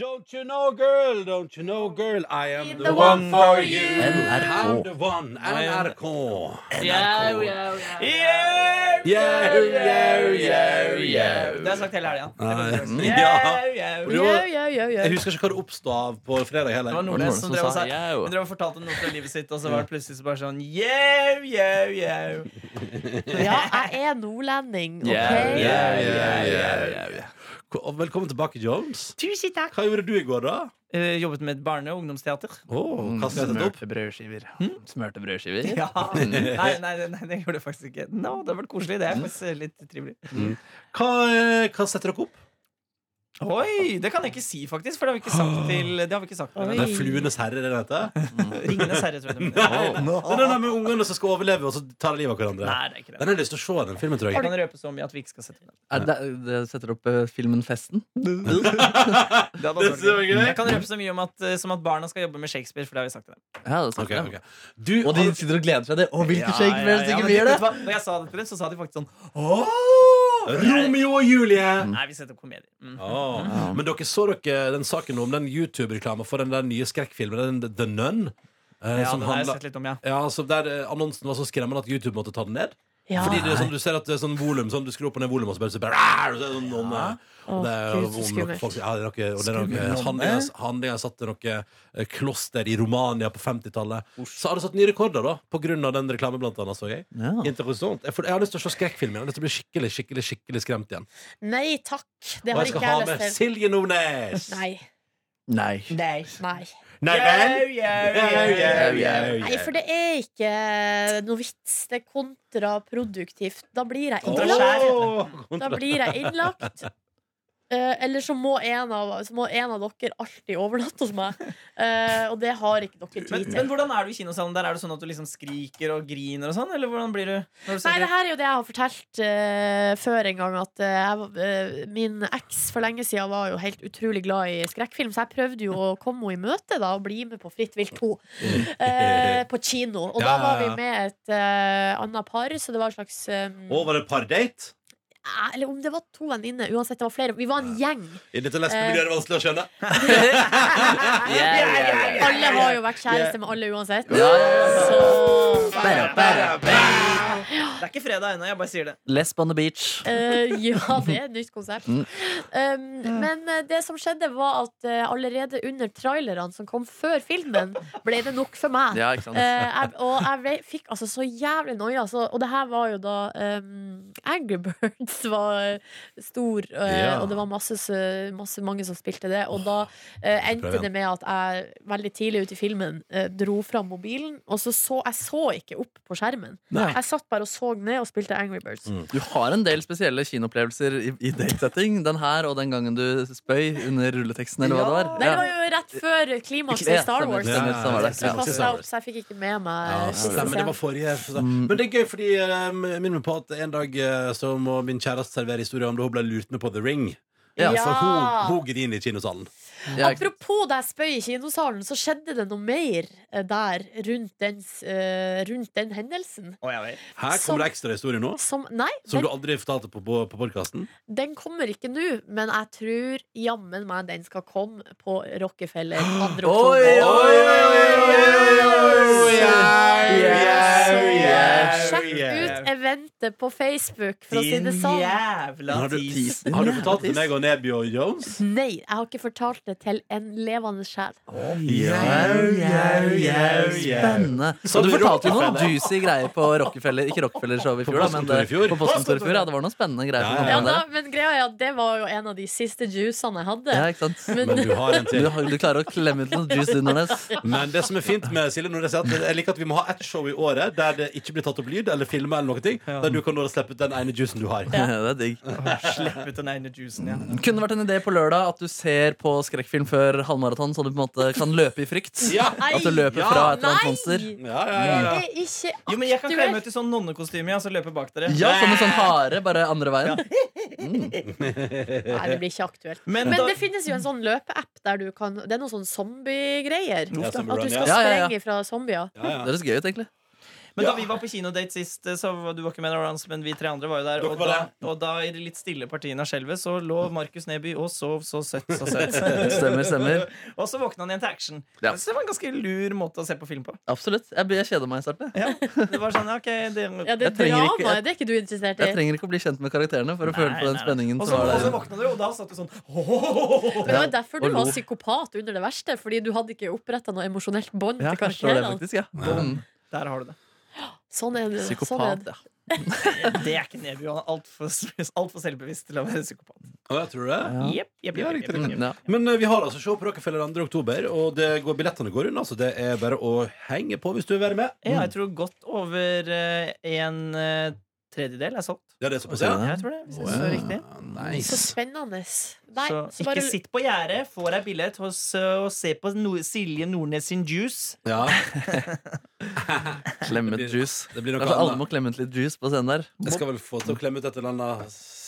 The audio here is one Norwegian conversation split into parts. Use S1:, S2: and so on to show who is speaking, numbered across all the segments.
S1: Don't you know, girl, don't you know, girl, I am the,
S2: the
S1: one
S2: one
S1: for
S2: for
S1: you.
S2: you.
S1: I'm
S3: NRK.
S1: the one, NRK.
S2: Yeah, yeah, yeah,
S4: Yeah,
S1: Yeah, yeah, yeah, yeah.
S4: Det har jeg sagt hele helga.
S1: Nei.
S4: Yeah,
S1: Ja.
S4: yeah.
S1: Jo,
S2: Jau, jau, jau, jau.
S1: Jeg husker ikke hva det oppsto av på fredag
S4: Det var
S1: heller.
S4: Nordnes som drev og sa
S3: Yeah.
S4: Hun drev og fortalte noe fra livet sitt, og så var det plutselig så bare sånn yeah, yeah, yeah.
S2: Ja, jeg er nordlending, OK?
S3: Yeah, yeah,
S1: Yeah,
S3: yeah,
S1: yeah,
S3: yeah,
S1: Og Velkommen tilbake, Jones.
S4: Tusen takk.
S1: Hva gjorde du i går, da?
S4: Eh, jobbet med et barne- og ungdomsteater.
S1: Oh,
S4: Mm,
S1: hva skal jeg sette opp?
S3: Smørte brødskiver. Smørte brødskiver.
S4: Hm?
S3: Mm.
S4: Ja. Nei, nei, nei, det gjorde jeg faktisk ikke. No, det har vært koselig. Det er faktisk litt trivelig.
S1: Hva, eh, hva setter dere opp?
S4: Oi! Det kan jeg ikke si, faktisk, for det har vi ikke sagt til Det har vi ikke sagt til
S2: Oi.
S4: henne.
S1: Det er Fluenes herre, er det den heter?
S4: Ringenes herre, tror jeg. det heter.
S1: Det er den der med ungene som skal overleve, og så tar de livet av hverandre.
S4: Nei, det er ikke det.
S1: Den har jeg lyst til å se, den filmen, tror
S4: Jeg
S1: jeg.
S4: kan røpe så mye at vi ikke skal sette den.
S3: Er det, det setter opp eh, filmen Festen.
S4: Det hadde
S1: Det
S4: vært
S1: ser
S4: dårlig.
S1: vi gøy.
S4: Jeg kan røpe så mye om at, eh, som at barna skal jobbe med Shakespeare, for det har vi sagt til dem.
S3: Ja, det
S1: Ok,
S3: setter
S1: ok.
S3: jeg.
S1: Du,
S3: Og de sitter og gleder seg. Det. Å, hvilke Shakespeare
S4: ja, ja,
S3: synger
S4: men
S3: vi gjør
S4: vet du
S3: det?
S4: hva? Når jeg sa det til dem, så sa de faktisk sånn
S1: Romeo og Julie!
S4: Nei, vi setter opp komedier. Mm.
S1: Åh. Men dere så dere den saken om den YouTube-reklama for den der nye skrekkfilmen, den The Nun? eh,
S4: Ja,
S1: som
S4: det har jeg
S1: handla-
S4: sett litt om, ja.
S1: ja, altså der eh, Annonsen var så skremmende at YouTube måtte ta den ned.
S2: Ja.
S1: Fordi det er sånn, Du ser at det er sånn volum, sånn, du skrur opp og ned volumet, og så bare, så bare rar, og så er det sånn, noen, eh, og det er
S2: Å,
S1: om
S2: Gud, så
S1: noen folk,
S2: skummelt.
S1: ja, det er noe, og det er noe
S3: Skummelt.
S1: handlinga, handlinga satte noe eh, kloster i Romania på 50-tallet. Så har det satt nye rekorder, da, på grunn av den reklamen, blant annet, så jeg.
S3: Ja.
S1: Interessant. Jeg, får, jeg har lyst til å se skrekkfilmen. Jeg har lyst til å bli skikkelig, skikkelig, skikkelig skremt igjen.
S2: Nei takk. Det
S1: Og
S2: har
S1: jeg
S2: ikke
S1: skal ha
S2: jeg
S1: med
S2: lyst til.
S1: Silje Nordnes!
S2: Nei.
S3: Nei.
S2: Nei. Nei.
S1: Nei
S4: Jau,
S1: vel?
S4: jau,
S1: Jau, jau,
S4: jau.
S1: jau,
S2: Nei, for
S1: jau.
S2: det er ikke noe vits. Det er kontraproduktivt. Da blir jeg
S4: Kontra
S2: innlagt.
S1: Åh!
S2: Da blir jeg innlagt. Eh, eller så må, en av, så må en av dere alltid overnatte hos meg. Eh, og det har ikke dere
S4: Men,
S2: tid
S4: men
S2: til.
S4: hvordan er du i kinosalen? Der Er det sånn at du liksom skriker og griner og sånn? Eller hvordan blir du? Når du
S2: Nei,
S4: setter-
S2: det her er jo det jeg har fortalt eh, før en gang. At eh, jeg, var- eh, min eks for lenge siden var jo helt utrolig glad i skrekkfilm, så jeg prøvde jo å komme henne i møte da og bli med på Fritt vilt 2 eh, på kino. Og da
S1: Ja, ja,
S2: var vi
S1: ja.
S2: med et eh, annet par, så det var en slags eh,
S1: Å, var det pardate?
S2: eh, Eller om det var to venninner. Uansett, det var flere. Vi var en gjeng.
S1: I dette lesbemiljøet er det vanskelig å skjønne.
S3: Yeah, yeah, yeah.
S2: Alle har jo vært kjæreste med alle uansett. Så
S3: Bæra, bæra, bæra.
S4: Det er ikke fredag ennå, jeg bare sier det.
S3: Lesb on the beach.
S2: Eh, ja, det er et nytt konsept.
S3: Mm.
S2: Um, men eh, det som skjedde, var at eh, allerede under trailerne som kom før filmen, ble det nok for meg.
S3: Ja, ikke
S2: Eh, jeg, og jeg ble, fikk altså så jævlig noia. Altså, og det her var jo da um, Angry Birds var eh, stor, eh,
S1: Ja.
S2: og det var masse, s- masse mange som spilte det. Og da eh, endte
S1: prøv igjen.
S2: det med at jeg veldig tidlig ute i filmen eh, dro fram mobilen, og så så jeg så ikke opp på skjermen.
S3: Nei.
S2: Jeg satt bare og så ned og spilte Angry Birds.
S3: Du har en del spesielle kinoopplevelser i, i datesetting. Den her og den gangen du spøy under rulleteksten, eller hva
S2: Nei,
S3: det
S2: det
S3: var.
S2: var jo rett før klimakset i Star Wars.
S1: stemmer.
S3: Ja, stemmer,
S2: Så jeg
S3: stemmer,
S2: passet
S3: stemmer
S2: opp, så jeg fikk ikke med meg
S1: Ja,
S2: siste
S1: stemmer, det
S2: scenen.
S1: var forrige Men det er gøy, fordi jeg minner meg på at en dag eh, så må min kjæreste servere historien om da hun ble lurt med på The Ring.
S3: Ja,
S1: For hun, hun griner i kinosalen.
S3: Ja, ikke-
S2: Apropos da jeg spøy i kinosalen, så skjedde det noe mer eh, der rundt, dens, eh, rundt den hendelsen.
S4: Å, jeg vet.
S1: Her
S2: Som-
S1: kommer det ekstra historie nå,
S2: Som, nei,
S1: som
S2: den,
S1: du aldri fortalte på, på, på podkasten.
S2: den kommer ikke nå, men jeg tror jammen meg den skal komme på Rockefeller 2.
S3: Oi,
S2: oktober.
S3: oi, oi, oi,
S2: Så sjekk ut eventet på Facebook, for å si det
S4: Din
S2: sånn.
S4: jævla
S1: Har du,
S4: tis.
S1: har du fortalt til meg og Nebby og Jones?
S2: Nei, jeg har ikke fortalt det til en levende sjel.
S3: Jau, jau, jau, Spennende.
S1: Som
S3: Og du fortalte jo noen
S1: Rockefeller.
S3: juicy greier på Rockefeller Ikke Rockefeller-showet i fjor, da, men
S1: Postkontoret i
S3: det,
S1: fjor.
S3: på Postkontoret i fjor. Ja, det var noen spennende greier.
S1: Ja,
S3: som kom
S2: Ja,
S3: fra
S2: da,
S3: dere.
S2: men greia er at det var jo en av de siste juicene jeg hadde.
S3: ja, ikke sant?
S2: Men-
S1: Men du har en til.
S3: Du, har- du klarer å klemme ut noen juice, du, Nordnes.
S1: Men det som er fint med Silje Nordnes, er sånn at jeg liker at vi må ha ett show i året der det ikke blir tatt opp lyd eller filma, eller noen ting, der du kan nå slippe ut den ene juicen du har.
S3: Det er digg.
S4: Slipp ut den ene juicen, ja.
S3: Kunne vært en idé på lørdag at du ser på skrekkfilm før halvmaraton, så du på en måte kan løpe i frykt.
S1: Ja.
S3: At du løper
S1: Ja.
S3: fra et eller annet monster.
S2: Nei!
S1: Ja, ja, ja, ja.
S2: Det er ikke
S4: Jo, men jeg kan klemme
S2: aktuelt.
S4: ut i sånn nonnekostyme ja, og så løpe bak dere.
S3: Ja, som en sånn hare, bare andre veien.
S2: Nei, det blir ikke aktuelt.
S4: Men,
S2: Men
S4: da,
S2: det finnes jo en sånn løpeapp der du kan Det er noen sånn zombiegreier.
S1: Ja,
S2: At
S1: zombie run,
S2: du skal
S1: ja.
S3: Ja, ja, ja.
S2: sprenge fra zombier.
S1: Ja,
S3: Det
S1: ja.
S3: høres gøy ut, egentlig.
S4: Men
S1: Ja.
S4: da vi var på kinodate sist, eh, så var du var ikke med, Lawrence, men vi tre andre var jo der.
S1: Dere
S4: Og
S1: var
S4: da,
S1: der.
S4: og da, i det litt stille partiet av skjelvet, så lå Markus Neby og sov så søtt, så søtt.
S3: Stemmer, stemmer.
S4: og så våkna han igjen til action.
S3: Ja.
S4: Jeg synes Det var en ganske lur måte å se på film på.
S3: Absolutt. Jeg, jeg kjeder meg i starten. jeg.
S4: Ja, det var sånn, ok det,
S2: Ja, det
S3: Jeg trenger ikke-
S2: dramaet det er ikke du interessert i.
S3: Jeg trenger ikke å bli kjent med karakterene for å føle på den spenningen
S4: Og så
S3: som var
S4: og så
S3: der.
S4: våkna du, og da satt sånn, du sånn «Åhåhåhåhå».
S2: Men det var
S3: Ja,
S2: derfor
S3: og
S2: du var
S3: lo.
S2: psykopat under det verste, fordi du hadde ikke oppretta noe emosjonelt bånd
S3: Ja,
S2: til
S3: jeg forstår
S2: karakterene.
S3: det faktisk, ja. Mm.
S4: Der har du det.
S2: Sånn er det. Sånn er
S3: Psykopat,
S2: det.
S3: ja.
S4: Det er ikke Neby. Han er altfor alt for selvbevisst til å være psykopat.
S1: Å, jeg tror det.
S3: Ja.
S4: Jepp, jepp,
S1: Ja,
S4: jepp,
S1: riktig,
S4: jepp,
S1: riktig.
S4: jepp.
S3: Mm, ja.
S1: Men eh, vi har altså show på Rockefeller 2. oktober, og det går, billettene går unna, så det er bare å henge på hvis du vil være med.
S4: Ja, jeg tror godt over eh, en eh, tredjedel er solgt.
S1: Ja, det er såpass, ja.
S3: Tror du det?
S4: Jeg tror det, hvis jeg
S1: Wow.
S4: så riktig.
S2: Så
S1: Nice.
S2: spennende. Nei,
S4: så,
S2: så
S4: ikke
S2: bare
S4: sitt på gjerdet, få deg billett hos, eh, og se på no Silje Nordnes sin juice.
S1: Ja,
S3: Klemmet juice.
S1: det blir noe
S3: Kanskje Altså, alle
S1: annet.
S3: må klemme ut litt juice på scenen der.
S1: Jeg skal vel få til å klemme ut et eller annet.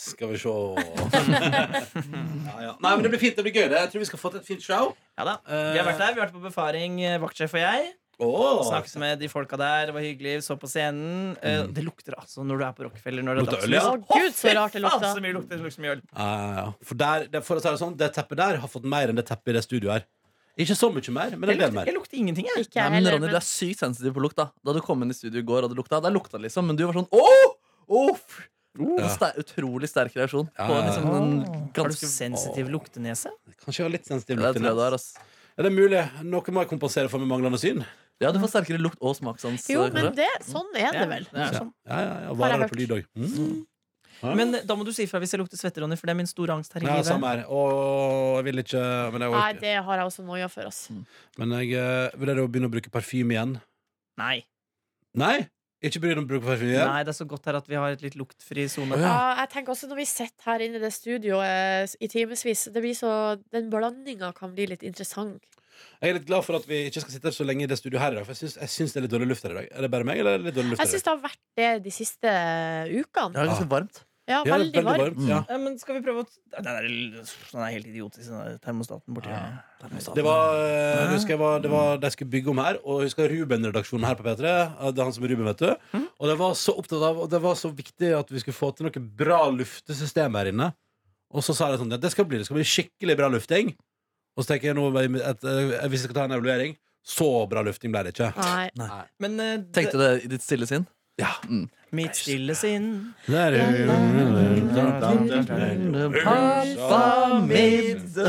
S1: Skal vi se ja, ja. Nei, men det blir fint. Det blir gøy. det. Jeg tror vi skal få til et fint show.
S4: Ja da, Vi har vært der, vi har vært på befaring, eh, vaktsjef og jeg.
S1: Åh.
S4: Snakket med de folka der, det var hyggelig, så på scenen. Eh, Det lukter altså når du er på Rockefeller. Når det
S1: Mm.
S4: er
S1: Lukter øl,
S4: dagslys.
S1: ja.
S2: Å, Gud, så rart det
S4: Fy faen,
S2: lukta.
S4: Så mye lukter, det lukter så mye øl.
S1: Ja, ja, ja. For, der, det- for å si det sånn, det teppet der har fått mer enn det teppet i det studioet her. Ikke så mye mer, men en del
S4: Jeg lukter,
S1: mer.
S4: jeg lukter ingenting, jeg.
S2: Ikke
S3: Nei,
S2: jeg
S3: men
S2: heller,
S3: Ronny, du
S2: men
S3: er sykt sensitiv på lukt. Da Da du kom inn i studio i går og det lukta, der lukta det liksom, men du var sånn åh! åh! f-
S1: Ja.
S3: En ster utrolig sterk reaksjon
S1: Ja,
S3: på
S1: ja, ja.
S3: liksom,
S4: Åh.
S3: en
S4: Har du
S3: ganske
S4: sånn sensitiv luktenese?
S1: Kanskje jeg har litt sensitiv
S3: Det
S1: lukt. i
S3: tror jeg du
S1: natt.
S3: har, ass.
S1: Er det mulig? Noe må jeg kompensere for med manglende syn.
S3: Ja, du får sterkere lukt og smakssans.
S2: Jo,
S3: eh,
S2: men
S3: kanskje.
S2: det, sånn er det vel.
S4: Ja, det er sånn.
S1: Ja, ja, ja,
S2: Har jeg
S1: Varer det
S2: hørt.
S1: på lyd òg. Mm. Ja.
S4: Men eh, da må du si ifra hvis jeg lukter svette, Ronny, for det er min store angst her i
S1: Ja, samme her.
S4: livet.
S1: Og jeg vil ikke Men jeg,
S2: Nei,
S1: orker.
S2: det har jeg også noia for, ass.
S3: Mm.
S1: men jeg eh, vurderer å begynne å bruke parfyme igjen.
S4: Nei.
S1: Nei! Ikke begynn å bruke parfyme igjen.
S4: Nei, det er så godt her at vi har et litt luktfri sone.
S1: Å,
S2: Ja,
S1: ja.
S2: jeg tenker også Når vi sitter her inne i det studioet eh, i timevis, det blir så den blandinga kan bli litt interessant.
S1: Jeg er litt glad for at vi ikke skal sitte så lenge i det studioet her i dag. For jeg syns, jeg syns det er litt dårlig luft her i dag. Er det bare meg, eller er det litt dårlig luft
S2: Jeg
S1: her i
S2: syns
S1: dag?
S2: det har vært det de siste eh, ukene.
S3: Det er ganske varmt. Mm.
S2: Ja,
S1: Ja, det er
S2: veldig varmt.
S1: varmt, Ah. ja.
S4: Ja, men skal vi prøve å Den er, den er helt idiotisk, den der termostaten borti
S1: Ja.
S4: her.
S1: Det var, eh, husker jeg var, det var det jeg skulle bygge om her, og jeg husker Ruben-redaksjonen her på P3. Det er han som er Ruben, vet du.
S2: Mm.
S1: Og det var så opptatt av, og det var så viktig at vi skulle få til noe bra luftesystem her inne. Og så sa jeg sånn, ja, det skal bli, det skal bli skikkelig bra lufting. Og så tenker jeg nå, at, eh, hvis jeg skal ta en evaluering, så bra lufting ble det ikke.
S2: Nei.
S4: Men eh, det-
S3: Tenkte du det i ditt stille sinn?
S1: Ja.
S3: Mm.
S4: mitt stille sinn
S1: Der,
S3: Pampa mitt.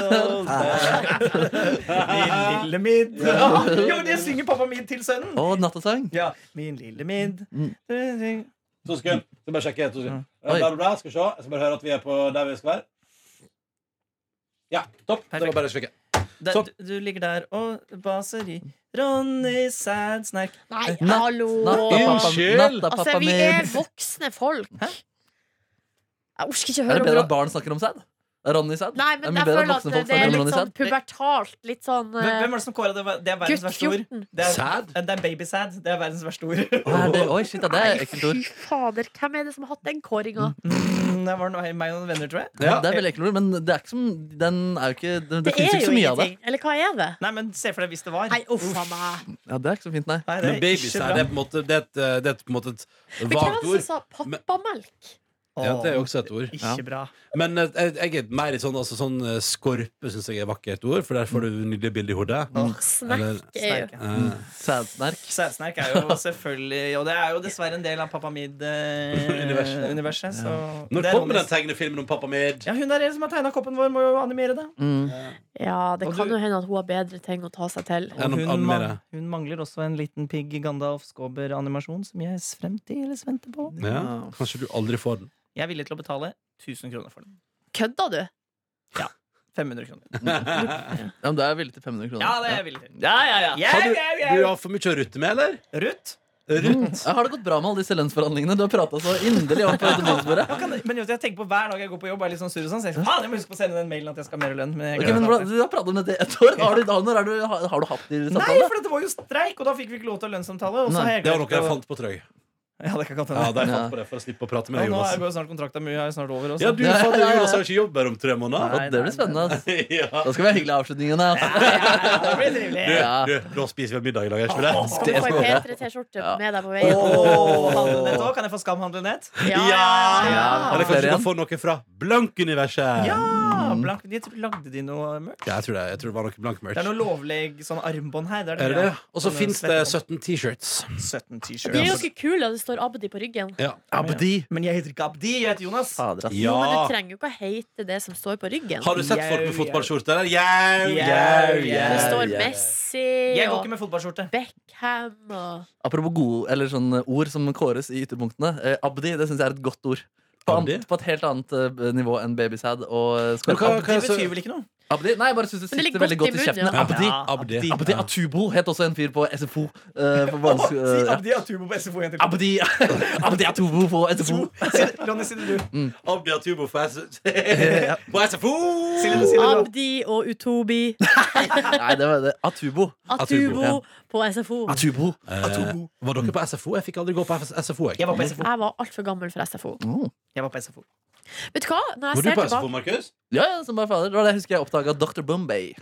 S4: Min lille midd ja, Jo, det synger pappa min til sønnen.
S3: Og nattesang.
S4: Ja, min lille midd
S1: To sekunder. Skal bare sjekke. To sekunder.
S3: Ja. Oi.
S1: Bla, bla, bla. Skal vi se. Jeg skal bare høre at vi er på der vi skal være. Ja, topp. Det
S4: Perfekt.
S1: var bare å sjekke.
S4: Da-
S1: Sånn.
S4: du, du ligger der og baser i Ronny sad snerk.
S2: Nei,
S3: Natt-
S2: hallo!
S3: Natta, pappa,
S1: Unnskyld!
S3: natta,
S2: Altså,
S3: pappa
S2: vi er
S3: mitt.
S2: voksne folk. Jeg orker ikke
S3: Er
S2: høre
S3: det
S2: om
S3: bedre
S2: det.
S3: at barn snakker om sæd? Er Ronny sæd?
S2: Nei,
S3: Det er
S2: men
S3: mye
S2: jeg
S3: bedre
S2: føler at
S3: at voksne
S2: det,
S3: folk
S2: det er
S3: snakker om
S2: litt
S3: Ronny
S2: sånn
S3: sæd.
S2: pubertalt. Litt sånn
S4: Hvem, hvem var det som kåra det? Det er verdens
S2: gutt
S4: verste ord.
S2: 14.
S4: Det er, Eh,
S1: Sad? Ah.
S4: det er babysad. Det er verdens verste ord.
S3: Hva er det? Oi, shit, ja, det er
S2: Nei,
S3: ekkelt ord.
S2: eh, fy fader, hvem er det som har hatt den kåringa?
S4: Mm, Det var noe, meg og noen venner, tror jeg.
S1: Ja.
S3: Det er veldig ekkelt ord, men det er ikke som, den er jo ikke, det, det
S2: Det er
S3: finnes ikke
S2: jo
S3: så mye av det.
S2: ingenting. Eller hva er det?
S4: Nei, men se for deg hvis det var.
S2: Nei, uff a meg.
S3: Ja, det er ikke så fint, nei.
S4: Nei, det er
S1: Men baby
S4: ikke
S1: sær,
S4: bra. altså,
S1: det er på en måte Det er et, eh, det er på en måte et
S2: Men hvem var
S1: vagt
S2: det som
S1: ord.
S2: sa pappamelk?
S1: Ja, det er jo også et ord.
S3: Ja.
S4: Ikke bra.
S1: Men eh, jeg jeg er mer i sånn, altså, sånn eh, skorpe, syns jeg er vakkert ord, for der får du
S4: Mm.
S1: nydelige bilder i hodet. Eller-
S2: Snerk er jo
S4: Sterk, ja.
S1: Eh,
S3: Sædsnerk.
S4: Sædsnerk er jo selvfølgelig Og det er jo dessverre en del av Pappa Mid-universet.
S1: Universet.
S4: så
S1: Når
S4: Det er
S1: kommer den
S4: Ronnys-
S1: tegnefilmen om pappa Mid?
S4: Ja, Hun der som har tegna koppen vår, må jo animere det.
S3: Mm.
S2: Ja, det
S4: Og
S2: kan
S4: du-
S2: jo hende at hun har bedre ting å ta seg til.
S1: Ja,
S4: Og
S1: noen
S4: hun,
S1: animere.
S4: man- hun mangler også en liten pigg Gandalf Skåber-animasjon som jeg fremdeles venter på.
S1: Ja, kanskje du aldri får den.
S4: Jeg er villig til å betale 1000 kroner for den.
S2: Kødda du?
S4: 500 kroner.
S3: Ja, men da er jeg villig til 500 kroner.
S4: Ja, det er jeg villig til.
S3: Ja, ja, ja.
S1: Har
S4: Yeah,
S1: du,
S4: yeah,
S1: du
S4: yeah.
S1: har for mye å rutte med, eller?
S4: Ruth?
S1: Rutt?
S3: Ja, Har det gått bra med alle disse lønnsforhandlingene? Du har prata så inderlig om på dette bonusbordet.
S4: Hva kan det- Men jo, jeg tenker på Hver dag jeg går på jobb, er jeg litt sånn sur og sånn. Så jeg, sier, faen, jeg må huske på å sende den mailen at jeg skal ha mer lønn. Men jeg
S3: Ok,
S4: glemmer
S3: men
S4: det.
S3: hvordan- Du har pratet om dette i ett år. Har du, har, når er du, har, har du hatt de
S4: Nei,
S3: samtalene?
S4: for dette var jo streik, og da fikk vi ikke lov til å ha lønnssamtale. Og så
S3: Nei,
S4: har jeg
S1: Det var
S4: glemt
S1: noe jeg
S4: å-
S1: fant på, tror jeg.
S4: Ja, det kan godt
S1: Ja,
S4: hende.
S1: de fant på det for å slippe å prate med
S4: Ja,
S1: deg,
S4: nå er
S1: Jonas.
S4: jo snart kontrakta mi er jo snart over. Også.
S1: Ja, Altså, du
S3: Ja,
S1: faen,
S3: ja, ja.
S1: Jonas har altså, ikke jobb her om tre måneder.
S4: Nei.
S3: Ja, det blir spennende. ass.
S1: Ja.
S3: Da skal vi ha hyggelige avslutninger. ass.
S4: Ja, det blir trivelig.
S1: Du,
S3: Ja.
S1: du, nå spiser vi middag i lag, er ikke det?
S2: Skal du
S3: Det
S2: få
S3: skal
S2: ei
S3: jeg.
S2: P3-T-skjorte
S3: Ja.
S2: med deg på
S4: Åh,
S2: veien?
S4: handlenett også? Kan jeg få skamhandlenett?
S2: Ja, ja,
S3: Ja.
S1: Eller kanskje du
S3: Flere
S1: kan få noe fra Blank-universet?
S4: Ja! Blank, de tror- lagde de noe merch?
S1: Ja, jeg tror det, jeg tror det var noe
S4: Det er
S1: Blank-merch.
S4: noe lovlig sånn armbånd her. Det Sånn er
S1: Er det det? Og så
S4: Sånne
S1: fins det
S4: svettekamp.
S1: 17 T-shirts.
S4: 17
S2: De er jo
S4: t-shirts.
S2: ikke kule, det står Abdi på ryggen.
S1: Ja. Abdi.
S4: Men jeg heter ikke Abdi, jeg heter Jonas.
S3: Fader, ass.
S2: Jo, men
S1: Ja.
S2: det trenger jo ikke å hete det som står på ryggen.
S1: Har du sett folk med
S4: Jau,
S1: fotballskjorte der? Jau,
S4: Jau,
S1: jau, jau.
S4: jau.
S2: Det står
S3: Ja, ja, ja.
S2: Messi
S4: Jeg går
S2: og
S4: ikke med fotballskjorte.
S2: Beckham og
S3: Apropos gode, eller sånne ord som kåres i ytterpunktene. Eh, Abdi det syns jeg er et godt ord. På,
S1: Abdi?
S3: an- på et helt annet eh, nivå enn babysad og eh,
S1: Men hva-
S3: skorpe.
S4: De
S1: hva- så-
S4: betyr vel ikke noe?
S3: Abdi? Nei, jeg bare syns
S2: Men
S3: det
S2: det
S3: sitter
S2: ligger
S3: veldig
S2: godt i
S3: godt i
S2: munnen,
S3: kjeften.
S2: ja.
S3: Abdi.
S4: Ja,
S1: Abdi.
S4: Abdi.
S3: Abdi Atubo het også en fyr på SFO. eh, på
S4: Å,
S3: barnes-
S4: si
S3: eh, ja.
S4: Abdi Atubo på SFO igjen til.
S3: Abdi, Abdi Atubo på SFO.
S4: Si det, Ronny, si det du.
S1: Abdi Atubo på S- på SFO!
S4: Si det, si det du.
S2: Abdi og Utobi.
S3: Nei, det var det. Atubo.
S1: Atubo,
S2: Atubo
S3: ja.
S2: på SFO.
S3: Atubo.
S1: Eh, var dere på SFO? Jeg fikk aldri gå på SFO. Jeg.
S4: Jeg var på SFO.
S2: Jeg var altfor gammel for SFO.
S3: Oh.
S4: Jeg var på SFO.
S2: Vet du hva? Når
S1: Var
S2: jeg
S1: du
S2: ser
S1: på SFO,
S2: tilbake
S1: Markus?
S3: Ja, ja, som bare fader. Det var det jeg husker jeg oppdaga Dr. Bombay.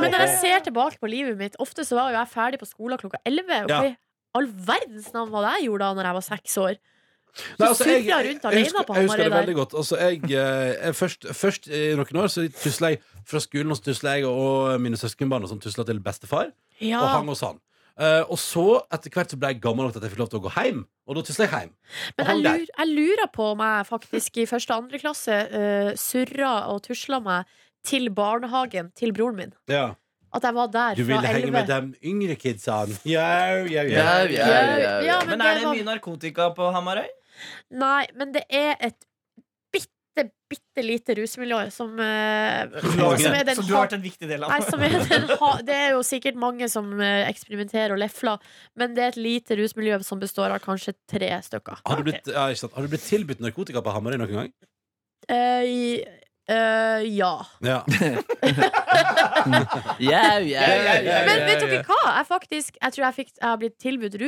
S2: men når jeg ser tilbake på livet mitt Ofte så var jo jeg ferdig på skolen klokka 11. Og
S1: Ja.
S2: hva i all verdens navn var det jeg gjorde da Når jeg var seks år?
S1: Nei, altså, jeg,
S2: surrer
S1: jeg,
S2: rundt alene på
S1: husker, jeg husker det
S2: Hamarøy der.
S1: veldig godt. Altså, jeg, eh, jeg, først, først i noen år så tusla jeg fra skolen og så tusla jeg og mine søskenbarn og sånn tusla til bestefar
S2: Ja.
S1: og hang hos han. Eh, og så, etter hvert, så ble jeg gammel nok til at jeg fikk lov til å gå hjem. Og da tusla jeg hjem. Og
S2: Men jeg,
S1: han der.
S2: lur, jeg lurer på om jeg faktisk i første og andre klasse uh, surra og tusla meg til barnehagen til broren min.
S1: Ja.
S2: At jeg var der
S1: Du ville
S2: fra
S1: henge med
S2: 11.
S1: dem yngre kidsene. Jau, jau, jau.
S2: Ja,
S3: Jau, jau, jau,
S2: ja,
S3: jau.
S2: men,
S4: Men
S2: det
S4: er det
S2: var,
S4: mye narkotika på Hamarøy?
S2: Nei, men det er et bitte, bitte lite rusmiljø som, eh, som er den
S4: Som du har vært en viktig del av.
S2: Nei, som er den ha det er jo sikkert mange som eh, eksperimenterer og lefler, men det er et lite rusmiljø som består av kanskje tre stykker.
S1: Har du blitt, ja, ikke sant? Har du blitt tilbudt narkotika på Hamarøy noen gang?
S2: Eh, i- eh, ja.
S1: Ja.
S3: Jau, jau, jau, jau.
S2: Men vet dere hva? Jeg, faktisk, jeg tror jeg, fikk, jeg har blitt tilbudt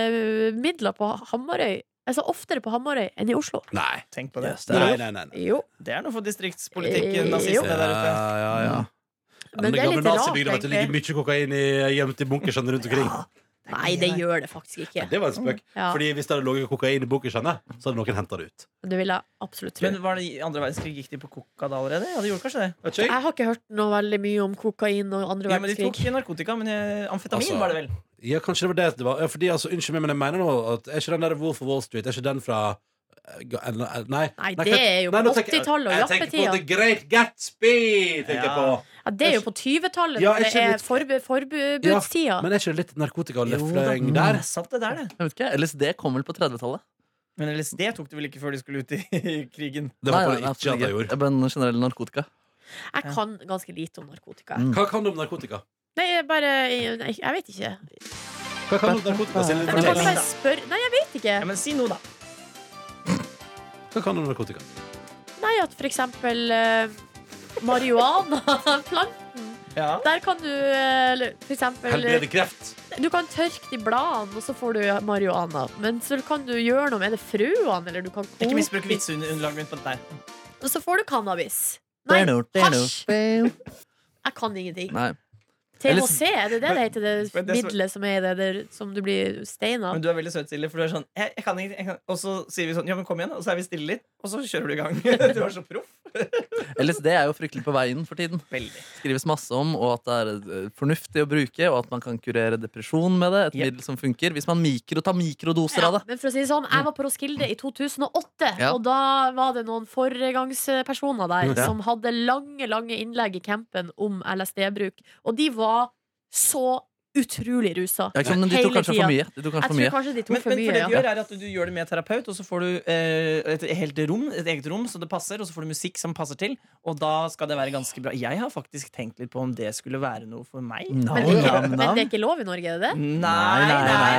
S2: rusmidler på Hamarøy. Altså oftere på Hamarøy enn i Oslo.
S1: Nei.
S4: Tenk på det.
S3: Yes,
S1: Nei, nei, nei. nei.
S2: Jo,
S4: Det er noe for distriktspolitikken,
S2: Eh,
S1: Ja,
S4: nazistene der ute.
S1: ja, ja. Ja,
S2: Mm. men
S1: den
S2: det er
S1: gamle
S2: litt rart,
S1: nazibygda, vet du, Det ligger
S2: egentlig.
S1: mye kokain i, gjemt i bunkersene rundt omkring.
S2: Nei, det gjør det faktisk ikke.
S1: Det var en spøk.
S2: Ja,
S1: Fordi hvis det hadde ligget kokain i bunkersene, så hadde noen henta det ut.
S2: det vil jeg absolutt tro.
S4: Men var det i andre verdenskrig gikk de på coca da allerede? Ja, de gjorde kanskje det.
S1: Vet ikke jeg?
S2: Jeg har ikke hørt noe veldig mye om kokain og andre
S4: Ja, men de tok
S2: verdenskrig.
S4: narkotika, men eh, amfetamin
S1: Altså,
S4: var det vel?
S1: Ja, kanskje det var det det var. Ja, fordi, altså, unnskyld meg, men jeg mener nå at er ikke den der Wolf of Wall Street Er ikke den fra eh, ga- eh, Nei.
S2: Nei, det er jo
S1: Nei,
S2: på
S1: nå tenker jeg-
S2: 80-tallet og
S1: Jeg tenker på
S2: jappetida.
S1: The Great Gatsby! Tenker jeg på
S4: Ja.
S2: Ja, det er jo på 20-tallet,
S1: Ja,
S2: når
S1: er
S2: det
S1: ikke
S2: er
S1: litt-
S2: forbu- forbudstida.
S1: Men er ikke det litt narkotika og
S4: Jo da,
S2: Mm.
S1: løfløying
S4: det
S1: der?
S4: er sant det der, det.
S3: Jeg vet ikke, LSD kom vel på 30-tallet?
S4: Men LSD tok de vel ikke før de skulle ut i krigen.
S1: Det håper
S3: Nei, nei,
S1: jeg ikke
S3: absolutt
S1: at jeg gjorde.
S3: Men generell narkotika.
S2: Jeg kan ganske lite om narkotika.
S3: Mm.
S1: Hva kan du om narkotika?
S2: Nei, jeg bare Nei, jeg vet ikke.
S1: Hva kan du om narkotika? Silje?
S2: Kan du
S1: Fortell.
S2: bare spørre Nei, jeg vet ikke.
S4: Ja, men si noe, da.
S1: Hva kan du om narkotika?
S2: Nei, at for eksempel eh, marihuana planten
S4: Ja.
S2: Der kan du eh, eller for eksempel
S1: Helbrede kreft?
S2: Du kan tørke de bladene, og så får du marihuana. Men så kan du gjøre noe med det frøene, eller du kan koke
S4: Ikke misbruk
S2: de.
S4: vitseunderlaget mitt på dette her.
S2: Og så får du cannabis. Nei,
S3: Det er noe, det er noe.
S2: hasj! Jeg kan ingenting.
S3: Nei.
S2: THC, er det det det heter? Det
S4: Men det som-
S2: middelet som er i det der, som du blir stein av?
S4: Men du er veldig søt, Silje, for du er sånn jeg, jeg kan ikke, jeg kan. Og så sier vi sånn, ja, men kom igjen, og så er vi stille litt, og så kjører du i gang. Du er så proff.
S3: LSD er jo fryktelig på veien for tiden.
S4: Veldig.
S3: Skrives masse om, og at det er eh, fornuftig å bruke, og at man kan kurere depresjon med det. Et
S4: Ja.
S3: middel som funker. Hvis man mikro, tar mikrodoser
S2: Ja,
S3: av det.
S2: men for å si det sånn, jeg var på Roskilde i 2008,
S3: Ja.
S2: og da var det noen foregangspersoner der
S3: Ja.
S2: som hadde lange, lange innlegg i campen om LSD-bruk, og de var så utrolig rusa.
S3: Ja, ikke sant? Men de tok
S2: Hele
S3: kanskje
S2: tida.
S3: for mye. De tok kanskje
S2: Jeg
S3: for
S2: tror
S3: mye.
S2: kanskje de tok
S4: Men,
S2: for
S4: men for det
S2: mye,
S4: du
S2: ja.
S4: gjør er at du gjør det med terapeut, og så får du eh, et helt rom, et eget rom så det passer, og så får du musikk som passer til, og da skal det være ganske bra. Jeg har faktisk tenkt litt på om det skulle være noe for meg.
S3: Nam,
S2: Men, det er ikke,
S3: nam,
S2: men
S3: nam.
S2: det er ikke lov i Norge, er det det?
S4: Nei, nei, nei, nei,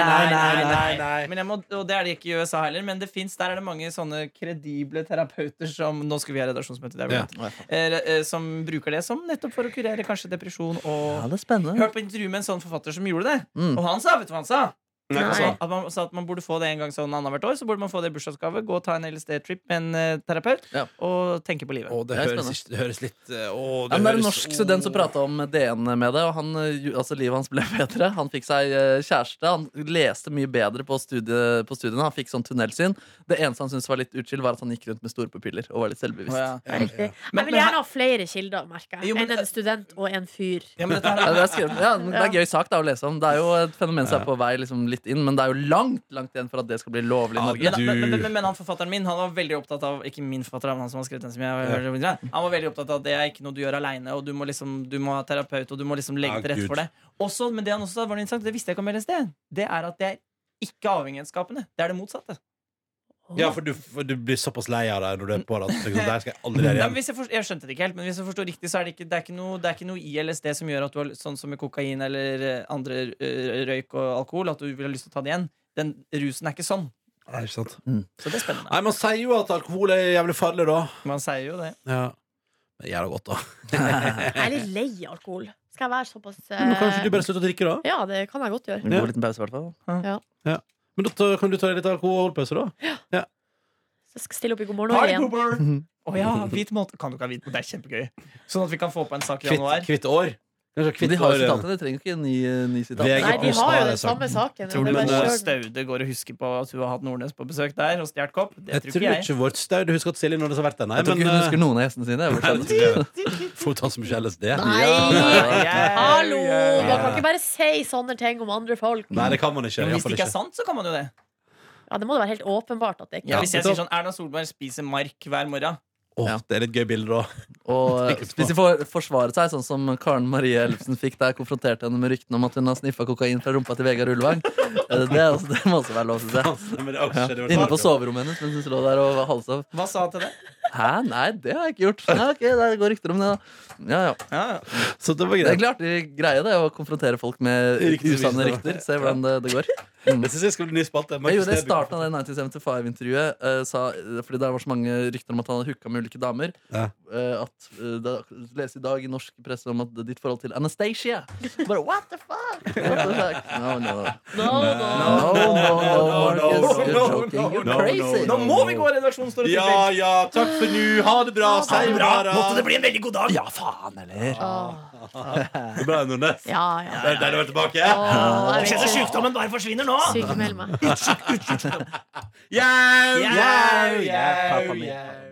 S4: nei, nei, nei, nei. Men jeg må, og det er det ikke i USA heller, men det finnes, der er det mange sånne kredible terapeuter som Nå skal vi ha redaksjonsmøte, det er vel
S1: Ja.
S4: det. Eh, eh, Som bruker det som nettopp for å kurere kanskje depresjon
S3: Ja,
S4: og
S3: det er spennende.
S4: Hørte på intervju med en sånn forfatter som gjorde det,
S3: Mm.
S4: og han sa, vet du hva han sa?
S1: Nei,
S3: altså.
S1: hva sa
S2: Nei.
S1: han?
S4: At man, så at man burde få det en gang sånn annethvert år. Så burde man få det i bursdagsgave. Gå og ta en LSD-trip med en eh, terapeut
S3: Ja.
S4: og tenke på livet.
S1: Å, det,
S3: Det er
S1: høres,
S3: spennende.
S1: ikke- det høres litt eh, å,
S3: Ja, men det er en
S1: høres-
S3: norsk student som prata om DN med det, og han, eh, ju- altså, livet hans ble bedre. Han fikk seg eh, kjæreste, han leste mye bedre på, studie, på studiene, han fikk sånn tunnelsyn. Det eneste han syntes var litt utskilt, var at han gikk rundt med store pupiller og var litt
S4: Å,
S3: selvbevisst.
S4: ja.
S1: Ja,
S2: Riktig.
S1: ja.
S2: Jeg
S4: Men-
S2: vil
S4: men her-
S2: gjerne ha flere kilder, merker jeg.
S4: Jo, men
S2: Enn
S4: det-
S2: en student og en fyr.
S4: Ja, men dette her,
S3: Ja, det, er skrevet- ja, men det er gøy sak da, å lese om. Det er jo et fenomen som er på vei liksom, litt inn, men det er jo langt langt igjen for at det skal bli lovlig i
S1: Ja,
S3: Norge.
S1: det-
S4: men, men,
S1: Du-
S4: men, men, men han forfatteren min Han var veldig opptatt av Ikke min forfatter, men han som har skrevet den som jeg, Han var veldig opptatt av at det er ikke noe du gjør aleine, og du må, liksom, du må ha terapeut, og du må liksom legge
S1: Ja,
S4: til
S1: Gud.
S4: rette for det. Også, men det han også sa, var noe interessant, det visste jeg ikke om LSD. Det er at det er ikke avhengighetsskapende. Det er det motsatte.
S1: ja for, du, for du blir såpass lei av det når du er på det. at du tenker sånn, Det her skal jeg aldri
S4: Nei,
S1: gjøre
S4: men
S1: igjen.
S4: hvis jeg, forstår, jeg skjønte det ikke helt, men hvis jeg forstår riktig, så er det ikke, det er ikke, noe, det er ikke noe i LSD som gjør at du har lyst- sånn som med kokain eller eh, andre eh, røyk og alkohol, at du vil ha lyst til å ta det igjen. Den rusen er ikke sånn.
S1: Nei, ikke sant?
S4: Så det er spennende.
S1: Nei, man sier jo at alkohol er jævlig farlig, da.
S4: Man sier jo det.
S1: Ja. Men det gjør det godt, da.
S2: Jeg er litt lei av alkohol. Skal jeg være såpass
S1: Men kanskje du
S2: eh,
S1: bare slutter å drikke, da?
S2: Ja, det kan jeg godt gjøre.
S3: En god liten pause, i hvert fall.
S1: Men da ta- kan du ta deg litt alkoholpause, da?
S2: Så jeg skal stille opp i God morgen Norge igjen.
S4: pooper! Å ja, hvit måned. Kan du ikke ha hvit måned? Det er kjempegøy. Sånn at vi kan få på en sak i
S1: Kvitt,
S4: januar.
S1: kvitt år? Kanskje
S3: Men
S1: kvitt
S3: de har jo
S1: år,
S3: sitatet, de trenger jo ikke en ny, eh, ny sitat.
S1: VG+.
S2: Nei, de
S1: Plus
S2: har
S1: har
S2: jo
S1: jeg
S2: den
S1: sagt.
S2: samme saken.
S4: Tror
S2: det
S4: du
S2: er
S1: Men,
S4: nå
S2: bare
S1: eh,
S2: kjør den.
S4: Staude går og husker på at hun har hatt Nordnes på besøk der og stjålet kopp? Det
S1: Jeg
S4: tror
S1: tror
S4: ikke jeg.
S1: ikke vårt staud Du husker at Silje Nordnes har vært der, nei?
S3: Jeg tror
S1: men,
S3: ikke hun
S1: eh,
S3: husker noen av gjestene
S1: Nei,
S3: sine. jeg
S1: det
S3: bortsett.
S1: tror ikke jeg. Får ta så mye LSD.
S2: Nei!
S4: Ja, ja,
S2: Hallo!
S4: ja,
S2: Man
S4: ja.
S2: kan ikke bare si sånne ting om andre folk.
S1: Nei, det kan man ikke. i
S4: Men
S1: hvert
S4: hvis
S1: fall
S4: det ikke er
S1: ikke.
S4: sant, så kan man jo det.
S2: Ja, Det må da være helt åpenbart at det ikke er
S4: Ja, hvis jeg sier sånn Erna Solberg spiser mark hver morgen
S1: Åh,
S3: Ja.
S1: det er et gøy bilde, da.
S3: Og eh,
S1: Tenker på.
S3: hvis de får forsvaret seg, sånn som Karen Marie Ellefsen fikk da jeg konfronterte henne med ryktene om at hun har sniffa kokain fra rumpa til Vegard Ulvang, eh, det, er også, det må også være lov til det.
S1: Nei, men det er også-
S3: Ja.
S1: det var-
S3: Inne på soverommet hennes mens hun lå der og halsa.
S4: Hva sa han til det?
S3: Hæ, nei, det har jeg ikke gjort. Nei, ok, Det går rykter om det, da. Ja, ja.
S4: Ja, ja.
S1: Så det var
S3: Det er
S1: greit.
S3: egentlig artig greie, det, å konfrontere folk med
S1: Riktig,
S3: usanne
S1: visst, da.
S3: rykter. Se hvordan det, det går.
S1: Jeg syns jeg skal bli ny spalte.
S3: Jeg gjorde det i starten av det 1975-intervjuet, eh, sa- eh, fordi det var så mange rykter om at han hadde hooka med ulike damer.
S1: Ja.
S3: eh, at eh, Det leses i dag i norsk presse om at ditt forhold til Anastacia Bare what the fuck? What the fuck? No, no.
S2: No, no.
S3: No,
S1: no,
S3: no,
S1: no,
S3: Marcus,
S1: no,
S3: you're
S1: no,
S3: joking. You're
S1: no, no,
S3: crazy.
S4: Nå må vi gå av redaksjonen, står det
S1: Ja, ja, takk for nå. Ha det bra.
S2: Ha det
S1: Måtte det bli
S4: en veldig god dag!
S3: Ja, faen, eller?
S2: Åh,
S1: bra, Nordnes.
S2: Ja, ja.
S1: Der der du er tilbake.
S2: Åh, jeg vet ikke.
S4: sykdommen bare forsvinner nå!
S2: Sykmeld meg.
S1: Jau, jau,
S4: Jau, jau,
S1: jau,
S4: jau.
S1: jau.